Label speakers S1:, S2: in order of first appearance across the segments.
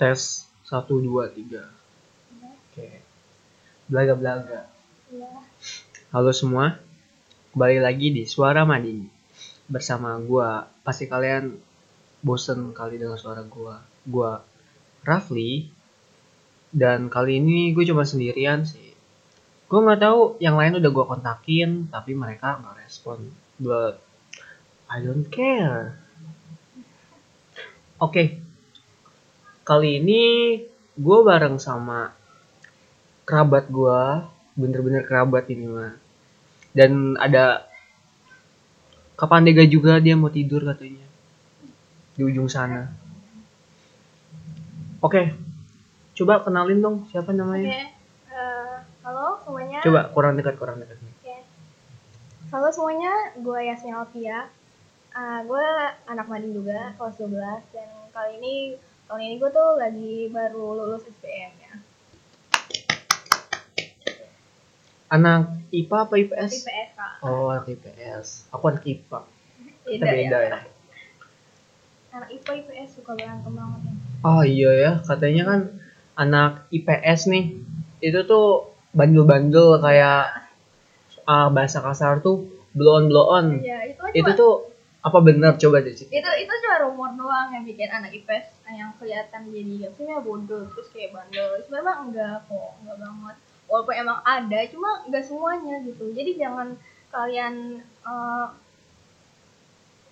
S1: Tes 1, 2, 3 Oke Belaga-belaga Halo semua Kembali lagi di Suara Madini Bersama gua Pasti kalian bosen kali dengan suara gua Gua Rafli Dan kali ini gue cuma sendirian sih Gue nggak tahu yang lain udah gua kontakin Tapi mereka nggak respon But I don't care Oke Kali ini gue bareng sama kerabat gua bener-bener kerabat ini mah dan ada Kapandega juga dia mau tidur katanya di ujung sana oke coba kenalin dong siapa
S2: Oke,
S1: namanya
S2: eh, halo semuanya.
S1: coba kurang dekat kurang dekat
S2: Oke. Halo semuanya, gue Yasmin Alfia. Ah, gue anak madin juga, kelas 12 dan kali ini tahun ini gue tuh lagi baru lulus SPM ya.
S1: anak IPA apa IPS
S2: IPS Kak.
S1: oh anak IPS aku anak IPA kita
S2: Beda
S1: beda ya
S2: Anak IPA IPS suka berantem banget ya.
S1: oh iya ya katanya kan anak IPS nih itu tuh bandel-bandel kayak ah, bahasa kasar tuh blow on blow on
S2: Iya, itu kan
S1: itu
S2: cuma-
S1: tuh apa benar coba deh Cit.
S2: itu itu cuma rumor doang yang bikin anak IPS yang kelihatan jadi maksudnya bodoh terus kayak bandel itu memang enggak kok enggak banget walaupun emang ada cuma enggak semuanya gitu jadi jangan kalian eh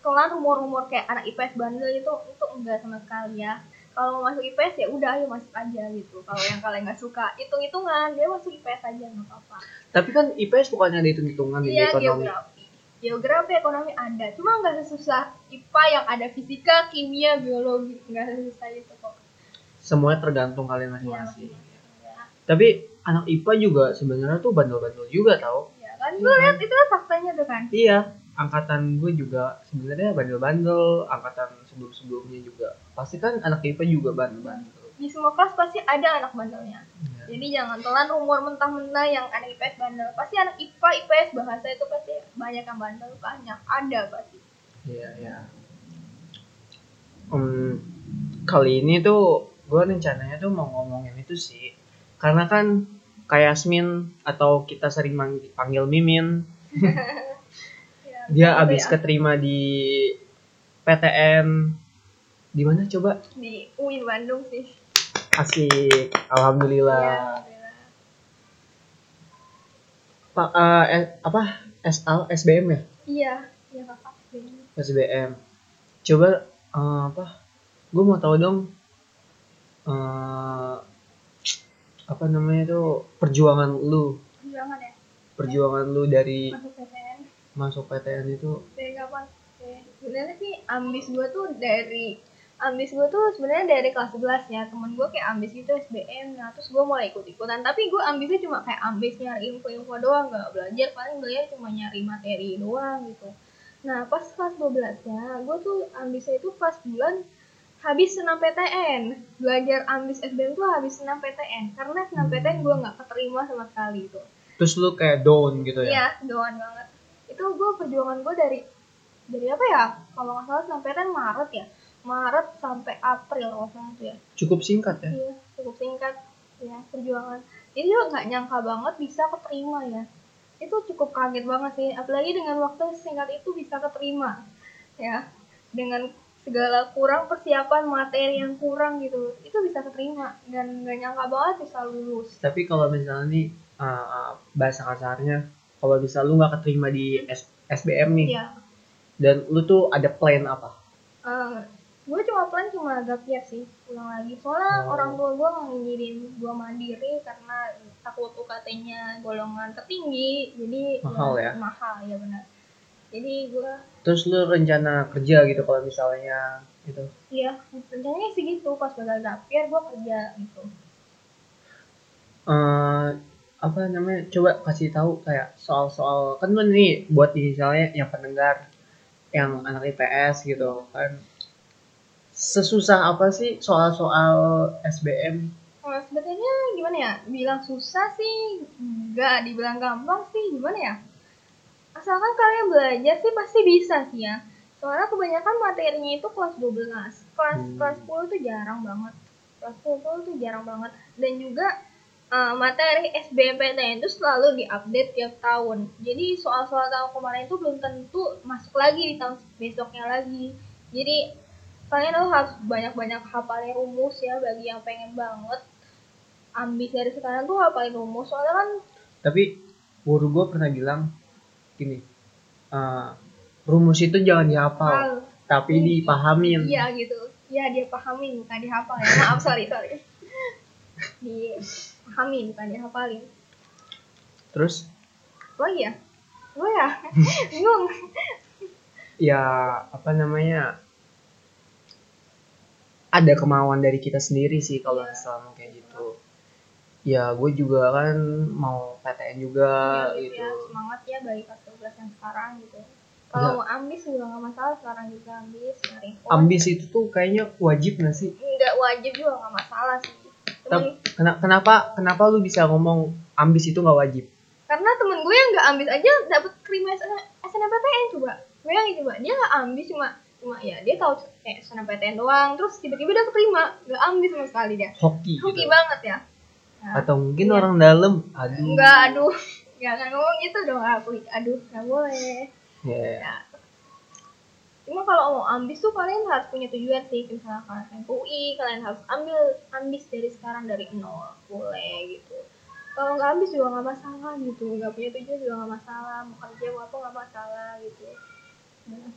S2: kalian rumor-rumor kayak anak IPS bandel itu itu enggak sama sekali ya kalau mau masuk IPS ya udah ayo masuk aja gitu kalau yang kalian nggak suka hitung-hitungan dia masuk IPS aja nggak apa-apa
S1: tapi kan IPS bukannya ada hitung-hitungan di
S2: Iya,
S1: ekonomi
S2: geografi. Geografi, ekonomi ada. Cuma nggak sesusah IPA yang ada fisika, kimia, biologi. Nggak sesusah itu kok.
S1: semuanya tergantung kalian
S2: Iya,
S1: masing-masing
S2: iya.
S1: tapi anak IPA juga sebenarnya tuh bandel-bandel juga tau
S2: Iya kan? Gue lihat itu kan faktanya tuh kan.
S1: iya angkatan gue juga sebenarnya bandel-bandel angkatan sebelum-sebelumnya juga pasti kan anak IPA juga bandel-bandel
S2: Di semua kelas pasti ada anak bandelnya.
S1: Iya.
S2: Jadi jangan telan rumor mentah-mentah yang anak IPS bandel. Pasti anak IPA, IPS, bahasa itu pasti banyak yang bandel. Banyak. Ada pasti.
S1: Iya, iya. Em, kali ini tuh gue rencananya tuh mau ngomongin itu sih. Karena kan kayak Yasmin atau kita sering mang- panggil Mimin,
S2: Iya,
S1: dia
S2: gitu
S1: abis
S2: ya.
S1: keterima di PTN di mana coba?
S2: Di UIN Bandung sih.
S1: Asik, alhamdulillah.
S2: Iya,
S1: Pak eh, eh, apa? SL SBM ya?
S2: Iya, iya kakak. Iya.
S1: SBM. Coba eh, apa? Gue mau tahu dong eh, apa namanya tuh perjuangan lu,
S2: Jangan ya,
S1: perjuangan lu dari
S2: masuk PTN.
S1: masuk PTN itu.
S2: dari kapan Oke. sebenarnya sih ambis gue tuh dari ambis gue tuh sebenarnya dari kelas 11 ya temen gue kayak ambis gitu SBM nah terus gue mulai ikut ikutan tapi gue ambisnya cuma kayak ambis nyari info info doang nggak belajar paling belajar cuma nyari materi doang gitu nah pas kelas 12 nya gue tuh ambisnya itu pas bulan habis senam PTN belajar ambis SBM tuh habis senam PTN karena senam PTN gue nggak keterima sama sekali gitu. itu
S1: Terus lu kayak down gitu ya?
S2: Iya, doan banget. Itu gue perjuangan gue dari dari apa ya? Kalau nggak salah sampai kan Maret ya. Maret sampai April kalau nggak salah tuh ya.
S1: Cukup singkat ya?
S2: Iya, cukup singkat ya perjuangan. Jadi gue nggak nyangka banget bisa keterima ya. Itu cukup kaget banget sih, apalagi dengan waktu singkat itu bisa keterima ya. Dengan segala kurang persiapan materi yang kurang gitu, itu bisa keterima dan gak nyangka banget bisa lulus.
S1: Tapi kalau misalnya nih eh, bahasa kasarnya, kalau bisa lu nggak keterima di S- SBM nih,
S2: Iya,
S1: dan lu tuh ada plan apa?
S2: gue Eh, cuma plan cuma gap year sih pulang lagi soalnya
S1: Oh.
S2: orang tua gue ngizinin gue mandiri karena takut UKT-nya golongan tertinggi jadi
S1: Mahal ya?
S2: mahal ya benar jadi gue
S1: Terus lu rencana kerja gitu kalau misalnya gitu?
S2: ya rencananya sih gitu pas gagal gap year gue kerja gitu
S1: eh apa namanya coba kasih tahu kayak soal-soal kan lu nih buat misalnya yang pendengar yang anak IPS gitu kan sesusah apa sih soal-soal SBM
S2: Nah, sebetulnya gimana ya bilang susah sih nggak dibilang gampang sih gimana ya asalkan kalian belajar sih pasti bisa sih ya soalnya kebanyakan materinya itu kelas 12 kelas
S1: Hmm.
S2: kelas 10 tuh jarang banget Rasul tuh jarang banget dan juga eh, materi SBMPTN itu selalu diupdate tiap tahun jadi soal-soal tahun kemarin itu belum tentu masuk lagi di tahun besoknya lagi jadi kalian tuh harus banyak-banyak hafalin rumus ya bagi yang pengen banget ambis dari sekarang tuh hafalin rumus soalnya kan
S1: tapi guru gue pernah bilang gini eh, rumus itu jangan dihafal
S2: hal
S1: tapi dipahamin
S2: Iya gitu. Iya dia pahamin bukan dihafal ya. Maaf sorry sorry. Dipahamin bukan dihafalin.
S1: terus
S2: Oh iya. Oh ya. Bingung.
S1: ya apa namanya ada kemauan dari kita sendiri sih kalau
S2: Iya.
S1: selama kayak gitu ya gue juga kan mau PTN juga
S2: Ya, gitu
S1: gitu
S2: ya, semangat ya bagi kelas 12 yang sekarang gitu. Kalau
S1: Iya.
S2: mau ambis juga nggak masalah sekarang juga ambis. nyari pon.
S1: ambis itu tuh kayaknya wajib nggak sih
S2: Nggak wajib juga nggak masalah sih. Temen,
S1: Tap- kena- kenapa kenapa lu bisa ngomong ambis itu nggak wajib
S2: karena temen gue yang nggak ambis aja dapet terima SN- SNMPTN coba. Gue yang coba dia nggak ambis cuma cuma ya dia tahu eh, SNMPTN doang terus tiba-tiba dia keterima nggak ambis sama sekali dia
S1: hoki
S2: Rugi
S1: gitu
S2: banget ya. Nah,
S1: atau mungkin
S2: Iya.
S1: orang dalam aduh
S2: enggak, aduh. Enggak akan ngomong gitu dong aku. Aduh, enggak boleh.
S1: ya
S2: Ya. Cuma kalau mau ambis tuh kalian harus punya tujuan sih. Misalnya kalian UI, kalian harus ambil ambis dari sekarang dari nol. Boleh gitu. Kalau nggak ambis juga nggak masalah gitu. Nggak punya tujuan juga nggak masalah. Mau kerja mau apa nggak masalah gitu. Nah,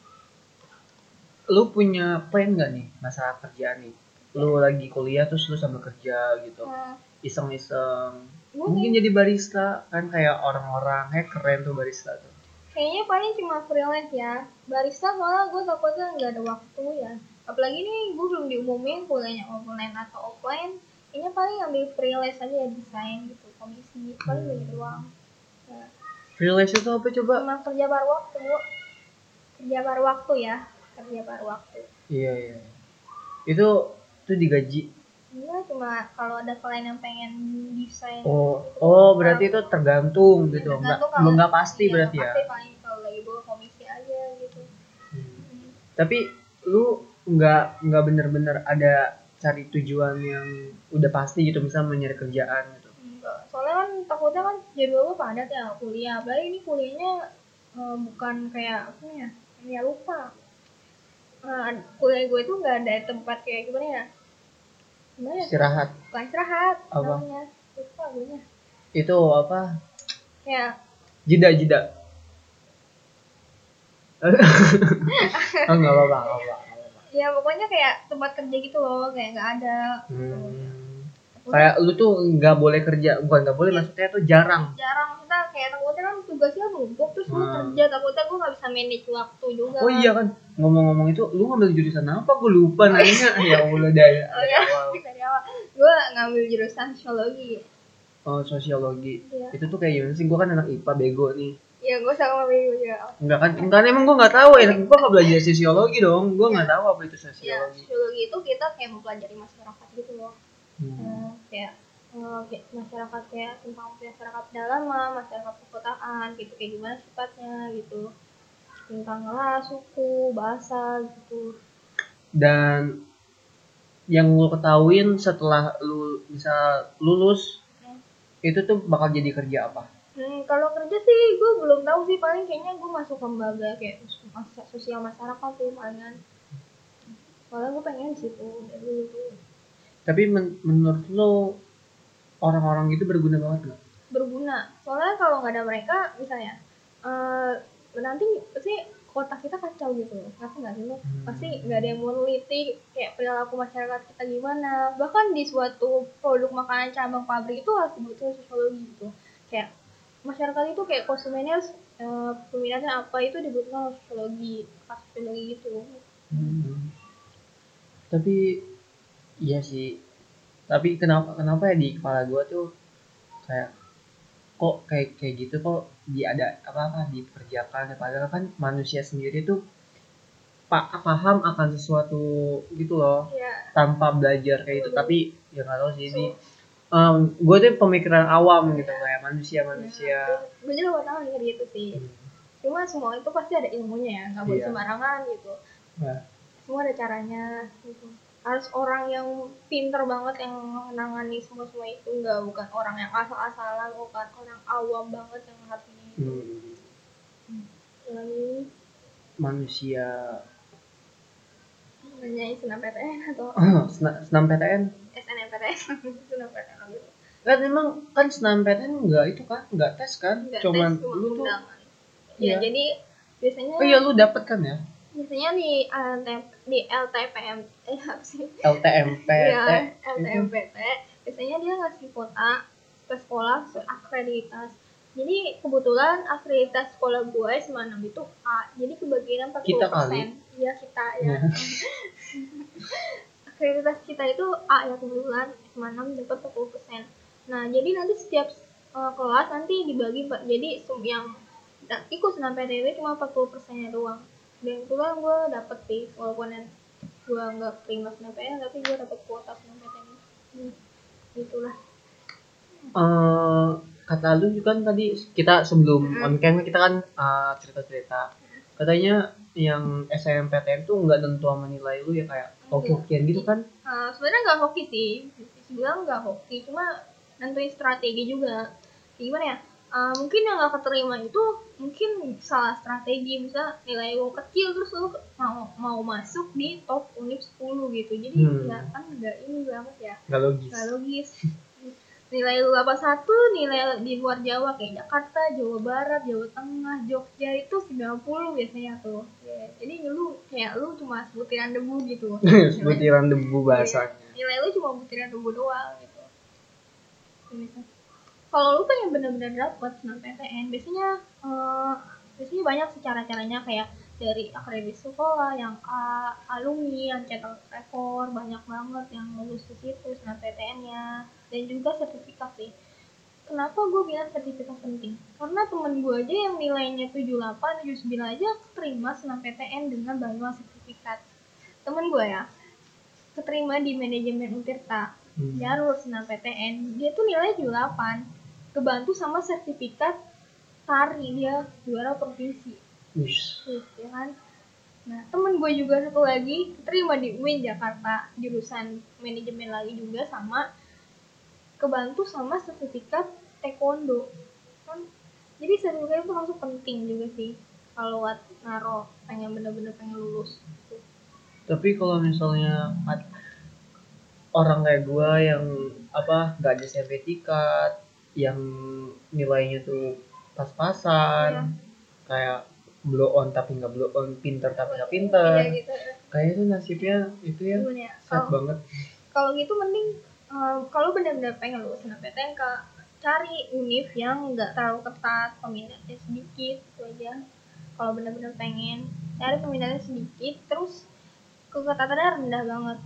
S1: lu punya plan nggak nih masalah kerjaan nih lu lagi kuliah terus lu sambil kerja gitu
S2: nah,
S1: iseng-iseng
S2: gue
S1: mungkin jadi barista kan kayak orang-orang kayak keren tuh barista tuh
S2: kayaknya paling cuma freelance ya barista soalnya gue takutnya nggak ada waktu ya apalagi nih gue belum diumumin kuliahnya online atau offline kayaknya paling ambil freelance aja ya desain gitu komisi paling
S1: Hmm.
S2: gitu doang Nah,
S1: freelance itu apa coba
S2: cuma kerja paruh waktu kerja paruh waktu ya kerja paruh waktu
S1: iya iya itu itu digaji
S2: Iya cuma kalau ada klien yang pengen desain gitu,
S1: oh oh berarti itu tergantung
S2: ya
S1: gitu nggak belum
S2: tergantung kalau-
S1: nggak pasti
S2: iya,
S1: berarti
S2: nggak
S1: ya
S2: pasti paling kalau lagi bawa komisi aja gitu
S1: Hmm. tapi lu nggak nggak bener-bener ada cari tujuan yang udah pasti gitu misal mencari kerjaan gitu
S2: Enggak, soalnya kan takutnya kan jadwal gue padat ya kuliah. Apalagi ini kuliahnya eh, bukan kayak apa ya? Ya lupa. Eh, kuliah gue itu nggak ada tempat kayak gimana ya? Gimana ya?
S1: istirahat
S2: Bukan istirahat
S1: Apa?
S2: namanya. Lupa gue nya.
S1: itu apa
S2: Kayak
S1: jeda jeda oh nggak apa-apa nggak apa-apa
S2: ya pokoknya kayak tempat kerja gitu loh, kayak nggak ada.
S1: Hmm. kayak lu tuh nggak boleh kerja bukan nggak boleh maksudnya tuh jarang
S2: jarang maksudnya kayak takutnya kan tugasnya numpuk terus gue
S1: Hmm.
S2: kerja takutnya gue nggak bisa manage waktu juga
S1: oh iya kan ngomong-ngomong itu lu ngambil jurusan apa gue lupa nanya ya allah dari
S2: oh iya dari awal gue ngambil jurusan sosiologi
S1: oh sosiologi
S2: Iya.
S1: itu tuh kayak gimana sih gue kan anak ipa bego nih
S2: Ya gue sama Bayu juga. Ya,
S1: enggak kan enggak kan, emang gue nggak tahu ya gue nggak belajar sosiologi dong gue nggak tahu apa itu
S2: Ya,
S1: sosiologi
S2: sosiologi itu kita kayak mempelajari masyarakat gitu loh.
S1: Hmm.
S2: Eh, kayak eh, kayak masyarakat kayak tentang masyarakat pedalaman, masyarakat perkotaan, gitu kayak gimana sifatnya gitu. Tentang ras, suku, bahasa gitu.
S1: dan yang lu ketahuin setelah lu bisa lulus
S2: Hmm.
S1: itu tuh bakal jadi kerja apa
S2: Hmm, kalau kerja sih gue belum tahu sih paling kayaknya gue masuk lembaga kayak sos- mas- sosial masyarakat sih palingan. Soalnya gue pengen di situ dari dulu tuh.
S1: tapi men- menurut lu orang-orang itu berguna banget nggak
S2: berguna soalnya kalau nggak ada mereka misalnya eh nanti pasti kota kita kacau gitu ngerti nggak sih lo?
S1: Hmm.
S2: pasti nggak ada yang meneliti kayak perilaku masyarakat kita gimana bahkan di suatu produk makanan cabang pabrik itu harus dibutuhin sosiologi gitu kayak masyarakat itu kayak konsumennya eh, peminatnya apa itu dibutuhkan sosiologi kasus sosiologi gitu
S1: Hmm. Tapi iya sih. Tapi kenapa kenapa ya di kepala gua tuh kayak kok kayak kayak gitu kok di ada apa apa dikerjakan padahal kan manusia sendiri tuh pa- paham akan sesuatu gitu loh
S2: ya
S1: tanpa belajar kayak itu
S2: Betul.
S1: tapi ya nggak tahu sih ini em, gue tuh pemikiran awam gitu kayak manusia
S2: ya,
S1: manusia
S2: gue juga nggak tahu kayak Iya. gitu sih cuma semua itu pasti ada ilmunya ya nggak boleh
S1: Iya.
S2: sembarangan gitu
S1: Nah,
S2: semua ada caranya gitu harus orang yang pinter banget yang menangani semua semua itu nggak bukan orang yang asal-asalan bukan orang awam banget yang harus ini itu.
S1: Hmm,
S2: lalu
S1: manusia
S2: nanyain SNMPTN atau
S1: Ah, Sena- senam PTN
S2: SNMPTN SNMPTN gitu
S1: kan emang kan senam PTN nggak itu kan nggak tes kan
S2: Nggak
S1: cuman
S2: tes, cuma
S1: lu tuh
S2: undangan.
S1: Iya.
S2: ya jadi biasanya
S1: oh iya lu dapet kan ya
S2: biasanya di LTP, di LTPM eh apa sih
S1: LTMP
S2: Iya,
S1: T-
S2: LTMPT. Biasanya dia ngasih kuota ke sekolah sesuai akreditas. Jadi kebetulan akreditas sekolah gue 96 itu A. Jadi kebagian 40%.
S1: Kita kali.
S2: Iya, kita ya.
S1: Iya.
S2: akreditas kita itu A ya kebetulan 96 dapat 40%. Nah, jadi nanti setiap eh, kelas nanti dibagi Pak. Jadi sum yang da- ikut senam PTW cuma 40%-nya doang. Dan kebetulan gue dapet sih walaupun yang gue nggak terima SNMPTN tapi gue dapet kuota SNMPTN hmm. gitulah
S1: Eh, kata lu juga kan tadi kita sebelum
S2: Mm.
S1: on cam kita kan eh, cerita-cerita katanya yang SMPTN tuh nggak tentu sama nilai lu ya kayak oke-okean gitu kan
S2: Eh, sebenarnya nggak hoki sih bilang nggak hoki cuma nentuin strategi juga Kayak gimana ya Eh, mungkin yang nggak keterima itu mungkin salah strategi misal nilai lu kecil terus lu mau mau masuk di top unip 10 gitu jadi
S1: Hmm.
S2: ya kan nggak ini banget ya
S1: nggak logis
S2: nggak logis nilai lu apa satu nilai di luar Jawa kayak Jakarta Jawa Barat Jawa Tengah Jogja itu 90 biasanya tuh Ya, jadi lu kayak lu cuma butiran debu gitu nilai,
S1: butiran debu bahasanya
S2: nilai lu cuma butiran debu doang gitu Gitu. kalau lu pengen bener-bener dapet senam PTN biasanya eh, biasanya banyak secara caranya kayak dari akreditasi sekolah yang A, alumni yang cetak rekor banyak banget yang lulus di situ senam PTN-nya dan juga sertifikat sih kenapa gue bilang sertifikat penting karena temen gue aja yang nilainya 78, 79 aja keterima senam PTN dengan bantuan sertifikat temen gue ya keterima di manajemen Untirta
S1: Hmm.
S2: Jarur senam PTN dia tuh nilai 78 kebantu sama sertifikat tari dia juara provinsi
S1: Wis.
S2: Tuh, ya kan? Nah, temen gue juga satu lagi terima di UIN Jakarta jurusan manajemen lagi juga sama kebantu sama sertifikat taekwondo. Kan, jadi sertifikat itu langsung penting juga sih kalau buat naro pengen bener-bener pengen lulus.
S1: tapi kalau misalnya ad- orang kayak gua yang apa nggak ada sertifikat yang nilainya tuh
S2: Iya.
S1: pas-pasan kayak blow on tapi nggak blow on pinter tapi nggak pinter
S2: Iya gitu.
S1: kayaknya tuh nasibnya itu ya
S2: Gimana ya?
S1: sad
S2: Kalau
S1: banget
S2: kalau gitu mending eh, kalau benar-benar pengen lulus SNMPTN ke cari univ yang nggak terlalu ketat peminatnya sedikit itu aja kalau benar-benar pengen cari peminatnya sedikit terus keketatannya rendah banget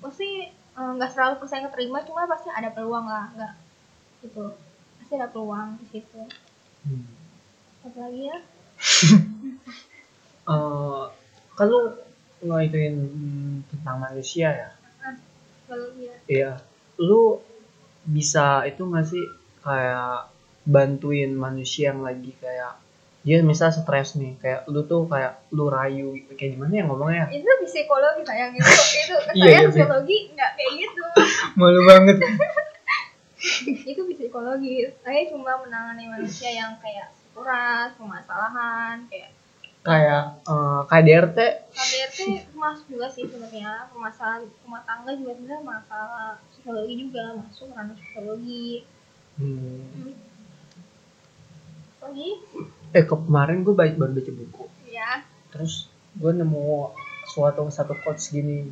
S2: pasti eh, nggak 100% keterima cuma pasti ada peluang lah nggak gitu pasti ada peluang di situ
S1: Hmm.
S2: apalagi ya
S1: Eh, kalau ngaituin hmm, tentang manusia ya
S2: kalau ya
S1: Iya, lu bisa itu nggak sih kayak bantuin manusia yang lagi kayak dia misal stres nih kayak lu tuh kayak lu rayu kayak gimana ya ngomongnya
S2: itu psikologi sayang itu itu
S1: Iya,
S2: saya
S1: iya, Bi.
S2: psikologi nggak kayak gitu
S1: malu banget
S2: itu psikologi saya cuma menangani manusia yang kayak stres permasalahan kayak
S1: kayak eh, KDRT
S2: KDRT masuk juga sih sebenarnya permasalahan rumah tangga juga sebenarnya masalah psikologi juga masuk ranah psikologi
S1: Hmm.
S2: Hmm. lagi
S1: eh ke- kemarin gue baik baru baca buku
S2: gitu ya
S1: terus gue nemu suatu satu quotes gini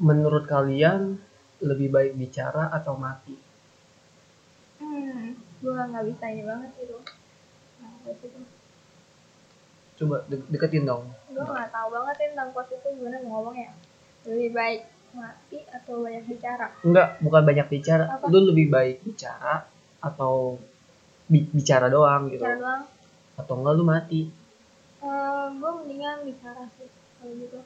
S1: menurut kalian lebih baik bicara atau mati
S2: hmm gua nggak bisa ini banget itu nah, quotes itu
S1: coba de- deketin dong
S2: gua nggak tahu banget ya tentang quotes itu gimana mau ngomong ya lebih baik mati atau banyak bicara
S1: Enggak, bukan banyak bicara.
S2: Apa?
S1: Lu lebih baik bicara atau bi- bicara doang gitu.
S2: bicara doang
S1: Atau enggak lu mati.
S2: Eh, gue mendingan bicara sih kalau gitu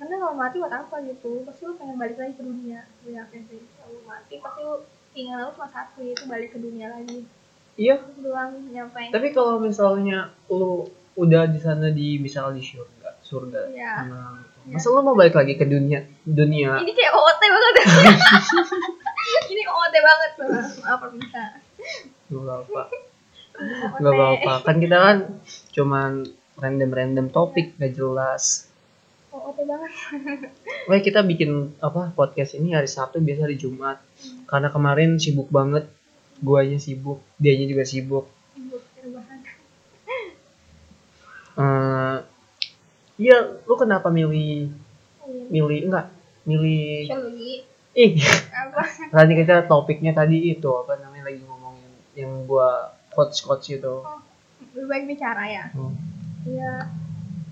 S2: karena kalau mati buat apa gitu pasti lu pengen balik lagi ke dunia gue yakin sih kalau lu mati pasti lu ingat lu cuma satu itu balik ke dunia lagi
S1: Iya,
S2: Itu doang nyampe
S1: tapi kalau misalnya lu udah di sana di misal di surga, surga
S2: Iya.
S1: Tenang. masa lu mau balik lagi ke dunia dunia
S2: Ini kayak OOT banget. ini OOT banget. Bang. Maaf pemirsa.
S1: nggak apa
S2: OOT.
S1: nggak apa kan kita kan cuman random random topik gak jelas
S2: OOT banget.
S1: Wah kita bikin apa podcast ini hari Sabtu biasa hari Jumat
S2: Hmm.
S1: karena kemarin sibuk banget guanya sibuk dianya juga sibuk
S2: Sibuk rebahan.
S1: eh iya lu kenapa milih
S2: Iya.
S1: milih enggak milih
S2: Sosiologi
S1: ih
S2: apa?
S1: tadi kita topiknya tadi itu apa namanya lagi ngomongin yang gua coach coach itu
S2: Lebih baik bicara ya.
S1: Hmm.
S2: Iya.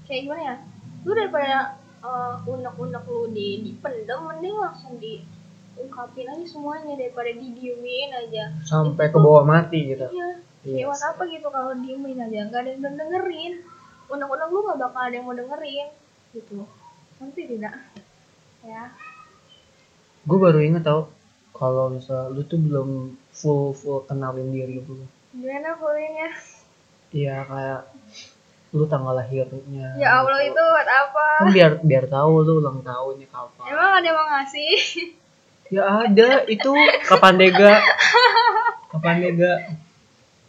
S2: Kayak gimana ya? Lu daripada eh, unek-unek lu di dipendam mending langsung diungkapin aja semuanya daripada didiemin aja.
S1: sampai ke bawah mati gitu
S2: Iya.
S1: Iya.
S2: Lewat apa gitu kalau diemin aja nggak ada yang mau dengerin undang-undang lu nggak bakal ada yang mau dengerin gitu nanti tidak ya
S1: gue baru inget tau kalau misal lu tuh belum full full kenalin diri lu
S2: gimana pulihnya
S1: Iya kayak lu tanggal lahirnya
S2: ya allah
S1: gitu.
S2: itu buat apa
S1: kan biar biar tahu lu ulang tahunnya kapan
S2: emang ada yang mau ngasih
S1: ya ada itu kapan dega kapan dega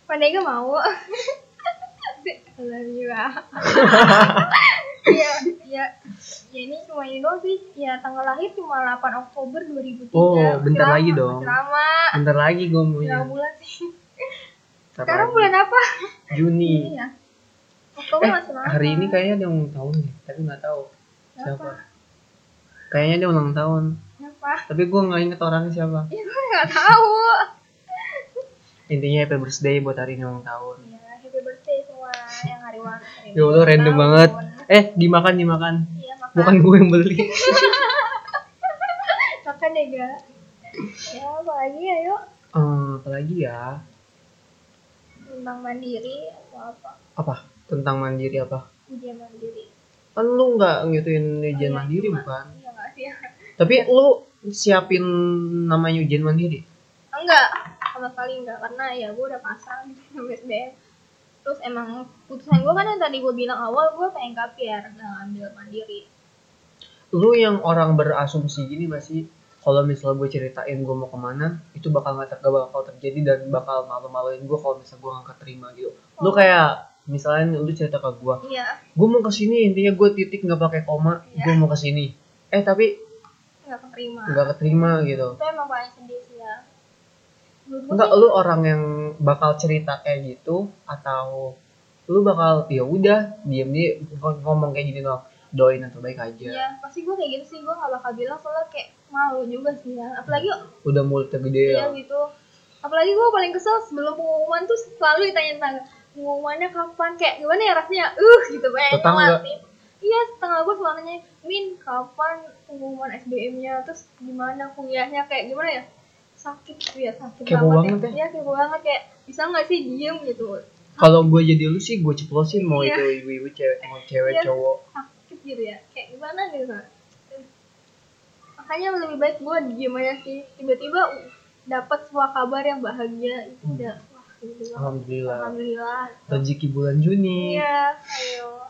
S2: pandega mau I love you ah ya ya ya ini cuma ini doang sih ya tanggal lahir cuma 8 Oktober 2003
S1: Oh,
S2: Masih
S1: bentar
S2: lama,
S1: lagi dong.
S2: masih lama
S1: bentar lagi gue mau
S2: berapa
S1: ya
S2: bulan sih
S1: Bentar
S2: sekarang
S1: lagi.
S2: bulan apa
S1: Juni
S2: ya Oktober
S1: eh
S2: masih lama
S1: hari ini kayaknya dia ulang tahun nih tapi nggak tahu
S2: Siapa?
S1: siapa kayaknya dia ulang tahun
S2: Kenapa?
S1: tapi gue nggak inget orangnya siapa
S2: Iya, Ya gue gak tahu.
S1: intinya happy birthday buat hari ini ulang tahun
S2: Ya, happy birthday semua yang hari ulang tahun.
S1: ya Allah random banget eh dimakan dimakan
S2: Iya, makan.
S1: bukan gue yang beli
S2: Makan deh, Ga. Ya, apalagi ayo
S1: Eh, apalagi ya
S2: tentang mandiri atau apa?
S1: apa tentang mandiri apa
S2: Ujian mandiri.
S1: kan lu nggak ngituin ujian
S2: Iya,
S1: mandiri
S2: cuma-
S1: bukan
S2: Iya gak sih?
S1: tapi lu siapin namanya ujian mandiri
S2: Enggak, sama sekali enggak karena ya gue udah pasang USBM. Terus emang putusan gue kan yang tadi gue bilang awal gue pengen KPR, nggak ambil mandiri.
S1: lu yang orang berasumsi gini masih kalau misalnya gue ceritain gue mau kemana itu bakal nggak ter- nggak bakal terjadi dan bakal malu-maluin gue kalau misalnya gue nggak keterima gitu lu
S2: Oh.
S1: kayak misalnya lu cerita ke gue
S2: Iya,
S1: gue mau kesini intinya gue titik nggak pakai koma
S2: Iya.
S1: gue mau kesini eh tapi
S2: nggak keterima.
S1: nggak keterima gitu
S2: Itu emang paling sedih sih ya. Menurut gue
S1: Enggak,
S2: sih-
S1: lu orang yang bakal cerita kayak gitu atau lu bakal ya udah diam di ngomong kayak gini doang doain yang terbaik aja
S2: Iya, pasti gue kayak gitu sih, gue gak bakal bilang soalnya kayak malu juga sih ya. Apalagi
S1: udah mulutnya gede ya
S2: iya gitu. Apalagi gue paling kesel sebelum pengumuman tuh selalu ditanya tentang pengumumannya kapan, kayak gimana ya rasanya, uh gitu pengen
S1: Tetangga.
S2: ngelatin. Iya, setengah gue selalu nanya, Min, kapan pengumuman SBM-nya, terus gimana kuliahnya, kayak gimana ya? Sakit sih ya, sakit
S1: Kepo banget
S2: ya. Iya, kepo banget, kayak bisa gak sih diem gitu.
S1: kalau gue jadi lu sih gue ceplosin mau
S2: Iya.
S1: itu ibu-ibu cewek mau cewek
S2: Iya.
S1: cowok
S2: sakit gitu ya kayak gimana gitu Kak. makanya lebih baik gue diem aja sih tiba-tiba dapat sebuah kabar yang bahagia itu udah wah gitu banget.
S1: alhamdulillah
S2: alhamdulillah
S1: rezeki bulan Juni
S2: iya ayo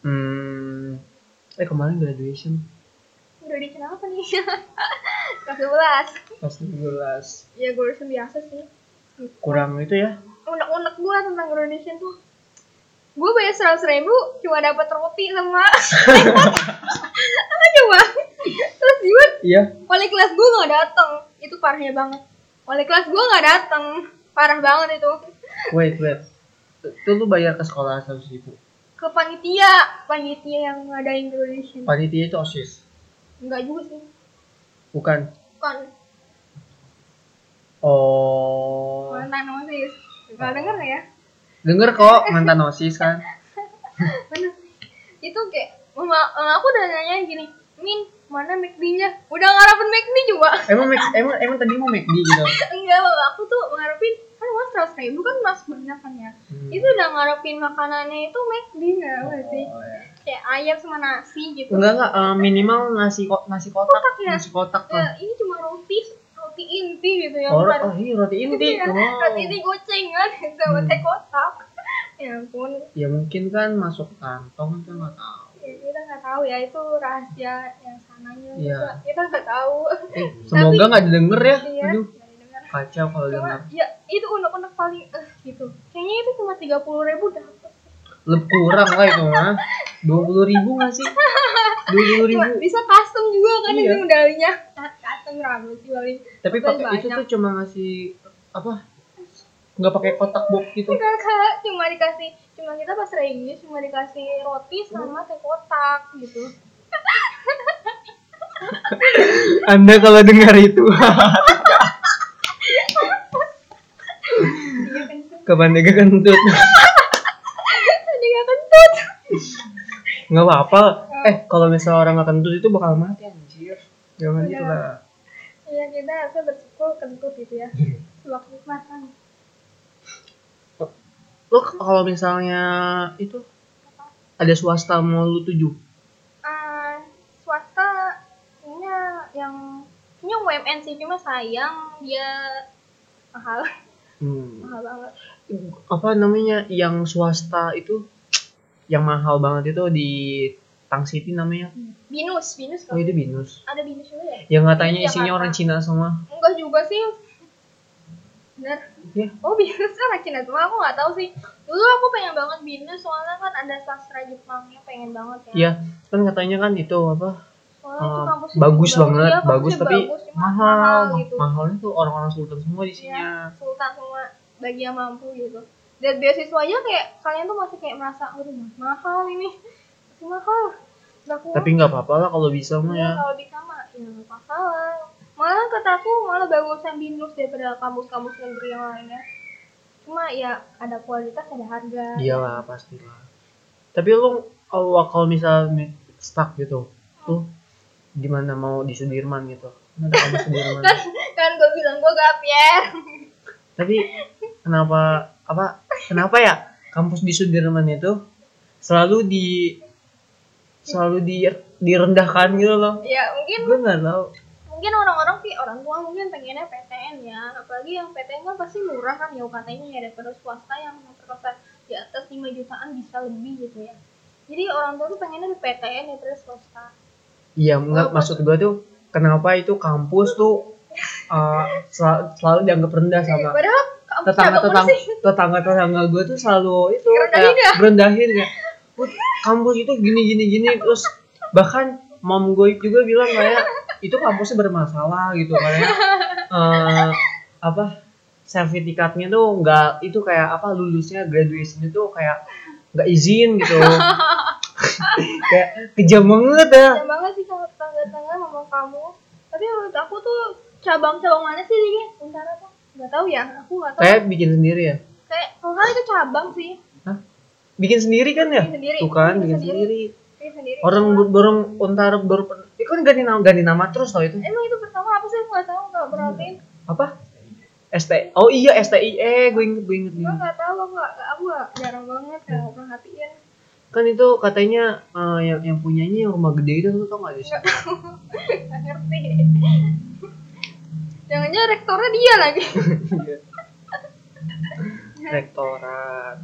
S1: hmm eh kemarin graduation
S2: udah di kenapa nih kelas sebelas
S1: pas 17
S2: ya graduation biasa sih
S1: kurang itu ya
S2: unek-unek gue tentang graduation tuh gue bayar seratus ribu cuma dapat roti sama apa coba terus juga
S1: iya
S2: Wali kelas gue nggak dateng, itu parahnya banget. Wali kelas gue nggak dateng, parah banget itu.
S1: wait wait itu lu bayar ke sekolah seratus ribu
S2: Ke panitia, panitia yang ngadain graduation.
S1: panitia itu osis
S2: Enggak juga sih,
S1: bukan
S2: bukan.
S1: oh
S2: Mantan osis. Gak denger nggak ya?
S1: Dengar kok mantan OSIS kan.
S2: Mana? Itu kayak, mama, mama aku udah nanya gini, Min, mana McD-nya? Udah ngarapin McD juga.
S1: Emang Mac- emang emang tadi mau McD gitu.
S2: Enggak, mama aku tuh ngarepin, kan uang seratus ribu kan mas banyak kan ya.
S1: Hmm.
S2: Itu udah ngarepin makanannya itu McD nggak apa sih?
S1: Oh, ya.
S2: Kayak ayam sama nasi gitu.
S1: Enggak enggak eh, minimal nasi ko- nasi kotak,
S2: Kotak ya?
S1: nasi kotak
S2: ya,
S1: kan.
S2: ini cuma roti roti inti gitu ya
S1: Oh,
S2: bukan
S1: oh, iya roti inti.
S2: Iya,
S1: Wow.
S2: roti inti gocengan sama
S1: Hmm.
S2: teh kotak ya ampun
S1: ya mungkin kan masuk kantong kita nggak tahu
S2: ya, kita nggak tahu ya itu rahasia yang sananya
S1: Iya.
S2: juga. kita nggak tahu
S1: eh, semoga nggak didengar ya
S2: iya
S1: aduh
S2: nggak didengar.
S1: kacau kalau
S2: cuma
S1: dengar
S2: ya itu unek-unek paling eh gitu kayaknya itu cuma tiga puluh ribu dapet
S1: lebih kurang lah itu mah dua puluh ribu nggak sih dua puluh
S2: cuma
S1: ribu
S2: bisa custom juga kan
S1: Iya.
S2: itu medalinya Cu- custom rambut sih paling
S1: tapi
S2: Betul
S1: pakai itu
S2: banyak.
S1: tuh cuma ngasih apa nggak pakai kotak box gitu
S2: Enggak, enggak. cuma dikasih cuma kita pas reuni cuma dikasih roti
S1: Iya.
S2: sama teh kotak gitu
S1: anda kalau dengar itu
S2: dia kentut
S1: kapan dia kentut
S2: dia kentut
S1: nggak apa-apa
S2: Iya.
S1: eh kalau misalnya orang nggak kentut itu bakal mati anjir jangan
S2: Iya.
S1: gitu lah
S2: iya kita harusnya bersyukur kentut gitu ya
S1: Iya.
S2: waktu makan
S1: lo kalau misalnya itu ada swasta mau lu tuju
S2: Ah, swasta punya yang punya UMN sih cuma sayang dia mahal
S1: hmm.
S2: mahal banget
S1: apa namanya yang swasta itu yang mahal banget itu di Tang City namanya
S2: binus binus
S1: oh
S2: kan
S1: itu binus
S2: ada binus juga ya
S1: yang katanya
S2: Di
S1: isinya
S2: Jakarta.
S1: orang Cina semua
S2: enggak juga sih bener
S1: ya
S2: oh binus kan rakyat cuma aku nggak tahu sih dulu aku pengen banget binus soalnya kan ada sastra Jepangnya pengen banget ya
S1: ya kan katanya kan itu apa
S2: soalnya Oh, itu
S1: eh,
S2: kampusnya
S1: bagus
S2: juga-
S1: banget
S2: iya, kampusnya
S1: bagus tapi
S2: cuma
S1: mahal
S2: gitu
S1: mahalnya tuh orang-orang sultan semua
S2: ya
S1: isinya
S2: sultan semua bagi yang mampu gitu dan beasiswanya kayak kalian tuh masih kayak merasa aduh mahal ini masih mahal Nah, Nggak kuat.
S1: tapi nggak apa-apa lah kalau bisa mah ya
S2: Iya, kalau bisa mah ya nggak masalah malah kataku malah bagusan binus daripada kampus-kampus negeri yang lainnya cuma ya ada kualitas ada harga
S1: iyalah pastilah tapi lu kalau kalau misalnya stuck gitu tuh gimana mau di Sudirman gitu Kan ada kampus Sudirman
S2: kan gue bilang gue gapir
S1: tapi kenapa apa kenapa ya kampus di Sudirman itu selalu di selalu di direndahkan gitu loh
S2: ya mungkin
S1: gue nggak tahu
S2: mungkin orang-orang sih orang tua mungkin pengennya PTN ya apalagi yang PTN kan pasti murah kan ya katanya ya daripada swasta yang memperkosa di atas 5 jutaan bisa lebih gitu ya jadi orang tua tuh pengennya di PTN ya terus swasta
S1: iya nggak maksud gue tuh kenapa itu kampus tuh eh, sel- selalu dianggap rendah sama
S2: padahal kamu
S1: tetangga
S2: siapa
S1: tetangga
S2: sih
S1: tetangga tetangga gue tuh selalu itu
S2: Direndahin ya?
S1: kayak rendahin kayak "Wah, kampus itu gini gini gini terus bahkan mom gue juga bilang kayak itu kampusnya bermasalah gitu kayak eh, apa sertifikatnya tuh nggak itu kayak apa lulusnya graduationnya tuh kayak nggak izin gitu kayak kejam banget ya
S2: Kasian banget sih kalau tetangga-tetangga ngomong kamu tapi menurut aku tuh cabang-cabang mana sih ini Untara tuh nggak tahu ya aku nggak tahu
S1: kayak bikin sendiri ya
S2: kayak kalau nggak itu cabang sih
S1: Hah? bikin sendiri kan ya
S2: Bikin sendiri.
S1: tuh kan
S2: Bikin
S1: bikin
S2: sendiri.
S1: sendiri.
S2: Ini sendiri
S1: orang bu- borong ontar baru pen- itu kan ganti nama ganti nama terus tau itu
S2: emang itu pertama apa sih aku nggak tahu nggak perhatiin
S1: apa ST oh iya STIE gue inget gue inget nih
S2: Gue gak tau, aku gak, aku gak jarang banget gak perhatiin
S1: kan itu katanya eh, yang yang punyanya yang rumah gede itu tuh tau gak sih
S2: Gak ngerti Jangan-jangan rektornya dia lagi
S1: rektorat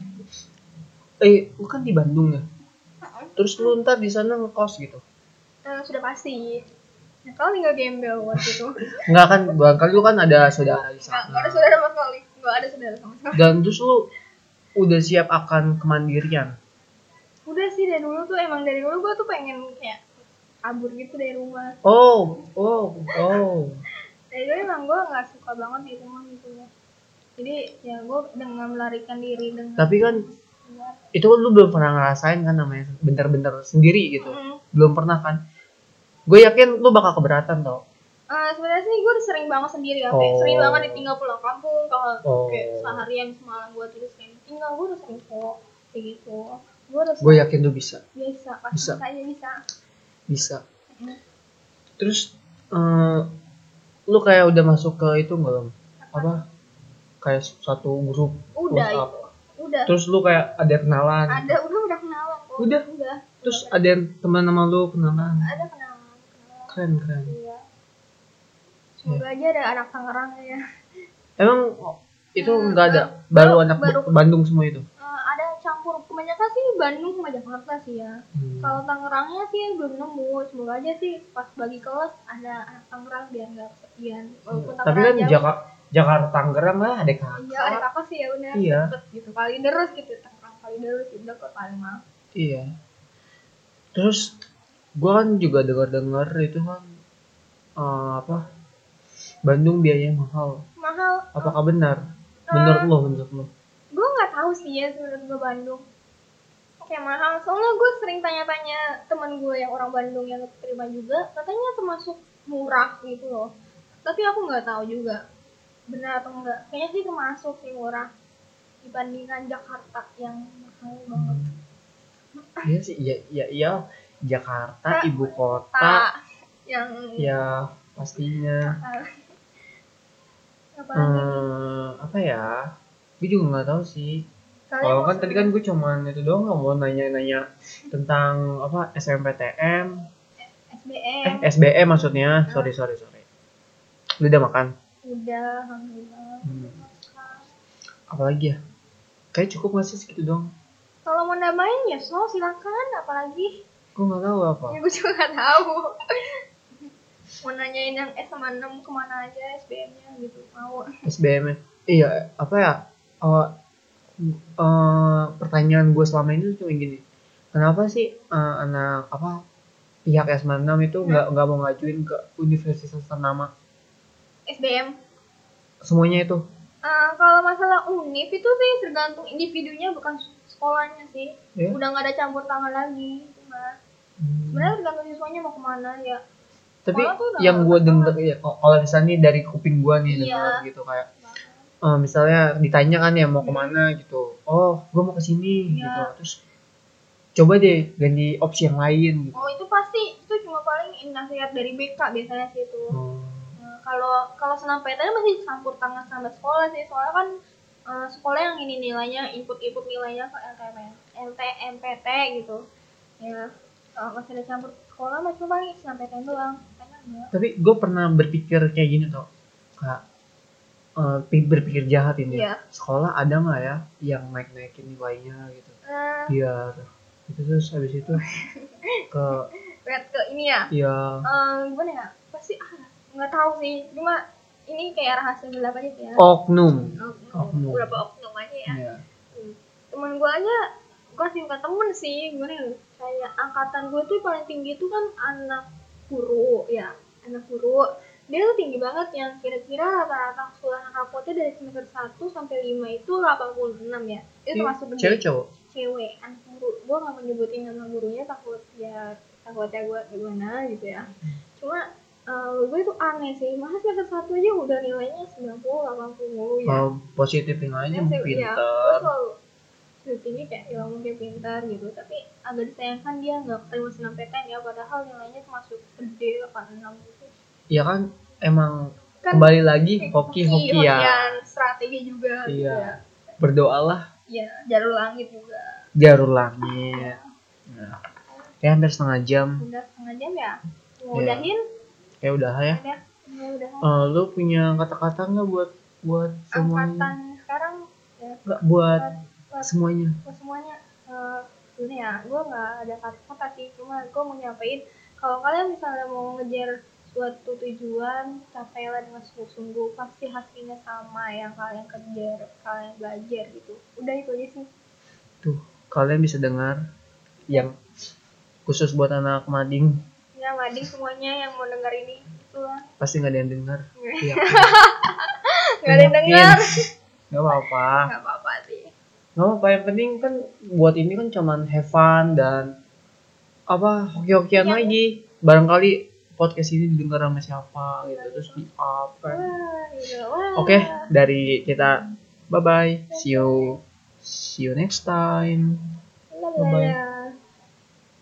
S1: eh lu kan di Bandung ya terus lu ntar di sana ngekos gitu
S2: Eh, Sudah pasti Ya kalau tinggal gembel waktu itu
S1: nggak kan barangkali lu kan ada saudara di
S2: Gak, gak
S1: sana
S2: ada saudara sama sekali Gak ada saudara sama sekali
S1: dan terus lu udah siap akan kemandirian
S2: Udah sih dari dulu tuh emang dari dulu gue tuh pengen kayak kabur gitu dari rumah
S1: oh oh oh
S2: Dari dulu emang gue gak suka banget di rumah gitu ya Jadi ya gue dengan melarikan diri dengan
S1: tapi kan
S2: keluar
S1: itu lu belum pernah ngerasain kan namanya bentar-bentar sendiri gitu
S2: Mm.
S1: belum pernah kan gue yakin lu bakal keberatan tau
S2: Eh, sebenarnya sih gue udah sering banget sendiri ya, kayak
S1: Oh.
S2: sering banget ditinggal pulang kampung kalau
S1: Oh.
S2: kayak seharian semalam gue terus kayak ditinggal gue udah sering kok kayak gitu. Gue udah
S1: gue yakin lu bisa
S2: bisa,
S1: ya-
S2: pas
S1: Bisa.
S2: bisa aja bisa.
S1: bisa terus eh, lu kayak udah masuk ke itu belum apa kayak satu grup
S2: Udah
S1: WhatsApp.
S2: itu, udah.
S1: terus lu kayak ada kenalan
S2: Ada udah udah kenalan kok.
S1: Udah?
S2: udah.
S1: terus ada yang teman sama lu kenalan
S2: Ada kenalan, kenalan.
S1: keren keren
S2: Iya. Semoga aja ada anak Tangerang ya.
S1: emang itu
S2: Hmm,
S1: nggak ada baru
S2: baru-
S1: anak
S2: Hmm, baru-
S1: Bandung semua itu
S2: Eh, ada cang kebanyakan sih Bandung sama Jakarta sih ya
S1: Hmm.
S2: kalau Tangerangnya sih belum nemu semoga aja sih pas bagi kelas ada anak Tangerang biar nggak kesepian walaupun
S1: Tapi kan
S2: jauh.
S1: Jaka- Jakarta Tangerang lah ada kakak.
S2: iya ada kakak sih ya udah
S1: Iya.
S2: deket gitu kali terus gitu Tangerang kali terus ya udah ke Palembang
S1: Iya. Terus gua kan juga dengar-dengar itu kan eh, apa Bandung biayanya mahal.
S2: mahal
S1: Apakah benar? Menurut lo, menurut lo?
S2: gue nggak tahu sih ya menurut gue Bandung kayak mahal soalnya gue sering tanya-tanya teman gue yang orang Bandung yang terima juga katanya termasuk murah gitu loh tapi aku nggak tahu juga benar atau enggak kayaknya sih termasuk sih murah dibandingkan Jakarta yang mahal banget
S1: Iya sih, ya, ya, ya Jakarta
S2: Ta-
S1: ibu kota,
S2: tak yang
S1: ya pastinya. Hmm.
S2: apa lagi
S1: Eh, apa ya? Gue juga nggak tahu sih.
S2: Kalian
S1: Kalau
S2: mau-
S1: kan tadi kan gue cuman itu doang nggak mau nanya-nanya tentang apa SMPTN,
S2: SBM
S1: eh, SBM maksudnya. Sorry, sorry, sorry. Lu udah makan?
S2: udah alhamdulillah
S1: Hmm. Apalagi ya? Kayak cukup nggak sih segitu doang?
S2: kalau mau nambahin ya so silakan apalagi
S1: Gue nggak tahu apa.
S2: Ya gue juga gak tahu. Mau nanyain yang S sama 6 kemana aja SBM-nya gitu. Mau.
S1: SBM -nya. Iya, apa ya? Eh, eh, pertanyaan gue selama ini tuh cuma gini. Kenapa sih eh, anak apa pihak S96 itu nggak nggak mau ngajuin ke universitas ternama?
S2: SBM.
S1: Semuanya itu.
S2: Eh, kalau masalah univ itu sih tergantung individunya bukan sekolahnya sih.
S1: Ya?
S2: Udah gak ada campur tangan lagi. Cuma
S1: Hmm.
S2: sebenarnya tergantung siswanya mau kemana ya.
S1: tapi
S2: Sekolah tuh udah
S1: yang
S2: nggak
S1: gue
S2: berkesan.
S1: denger ya kalau kalau misalnya nih dari kuping gue nih
S2: Iya.
S1: denger gitu kayak eh, misalnya ditanya kan ya mau kemana gitu oh gue mau ke sini
S2: Iya.
S1: gitu terus coba deh ganti opsi yang lain gitu
S2: Oh itu pasti itu cuma paling nasihat dari BK biasanya sih itu.
S1: Hmm.
S2: Nah, kalau kalau senam PTN masih campur tangan sama sekolah sih soalnya kan eh, sekolah yang ini nilainya input-input nilainya ke LTM LTMPT gitu ya kalau masih ada campur sekolah masih paling senam PTN doang Karena enggak.
S1: tapi gue pernah berpikir kayak gini tau kayak eh, pi- berpikir jahat ini
S2: Iya.
S1: sekolah ada nggak ya yang naik naikin nilainya gitu
S2: Eh,
S1: biar itu terus habis itu ke
S2: lihat ke ini ya
S1: ya
S2: Eh, gimana ya pasti ah, nggak tahu sih cuma ini kayak rahasia gelap aja sih ya
S1: Oh. oknum
S2: Oknum. berapa oknum aja ya
S1: Iya.
S2: temen gue aja gue sih bukan temen sih gimana ya kayak angkatan gue tuh paling tinggi tuh kan anak guru ya anak guru dia tuh tinggi banget yang kira-kira rata-rata keseluruhan rapotnya dari semester 1 sampai 5 itu 86 ya itu termasuk gede
S1: Iya, Hmm, cewek cowok
S2: cewek anak guru gue gak mau nyebutin nama gurunya takut ya takutnya gue gimana gitu ya cuma eh, gue tuh aneh sih masa semester satu aja udah nilainya 90 80 ya
S1: Kalau positif yang lainnya
S2: Iya, sih, iya. Gue
S1: pinter.
S2: selalu syutingnya kayak ya mungkin pintar gitu tapi agak disayangkan dia nggak terima senam PTN ya padahal nilainya termasuk gede 86 gitu
S1: Ya kan emang
S2: Kan
S1: kembali lagi hoki hoki ya.
S2: hokian, strategi juga gitu
S1: Iya.
S2: ya
S1: Berdoalah
S2: Iya, jalur langit juga
S1: jarur langit. Nah, kayak hampir setengah jam.
S2: udah setengah jam ya
S1: Iya.
S2: mau udahin
S1: Kayak udah ya.
S2: udah mau udahan
S1: Eh, lu punya kata-kata nggak buat buat semuanya?
S2: angkatan sekarang ya
S1: Nggak buat
S2: buat, buat
S1: semuanya.
S2: Gua semuanya eh gimana ya gue nggak ada kata-kata sih cuma gue mau nyampein kalau kalian misalnya mau ngejar suatu tujuan capailah dengan sungguh-sungguh pasti hasilnya sama yang kalian kejar kalian belajar gitu udah itu aja sih
S1: Tuh, kalian bisa dengar yang khusus buat anak mading
S2: ya nggak semuanya yang mau denger ini itulah
S1: pasti nggak ada yang dengar. Iya.
S2: nggak ada yang dengar
S1: Gak apa-apa.
S2: nggak apa-apa sih
S1: Gak apa-apa yang penting kan buat ini kan cuman have fun dan apa hoki-hokian lagi. Barangkali podcast ini didengar sama siapa gitu terus di up. kan.
S2: wah gitu wah
S1: Oke, dari kita bye bye. See you see you next time.
S2: Lah, lah,
S1: Bye-bye.
S2: lah.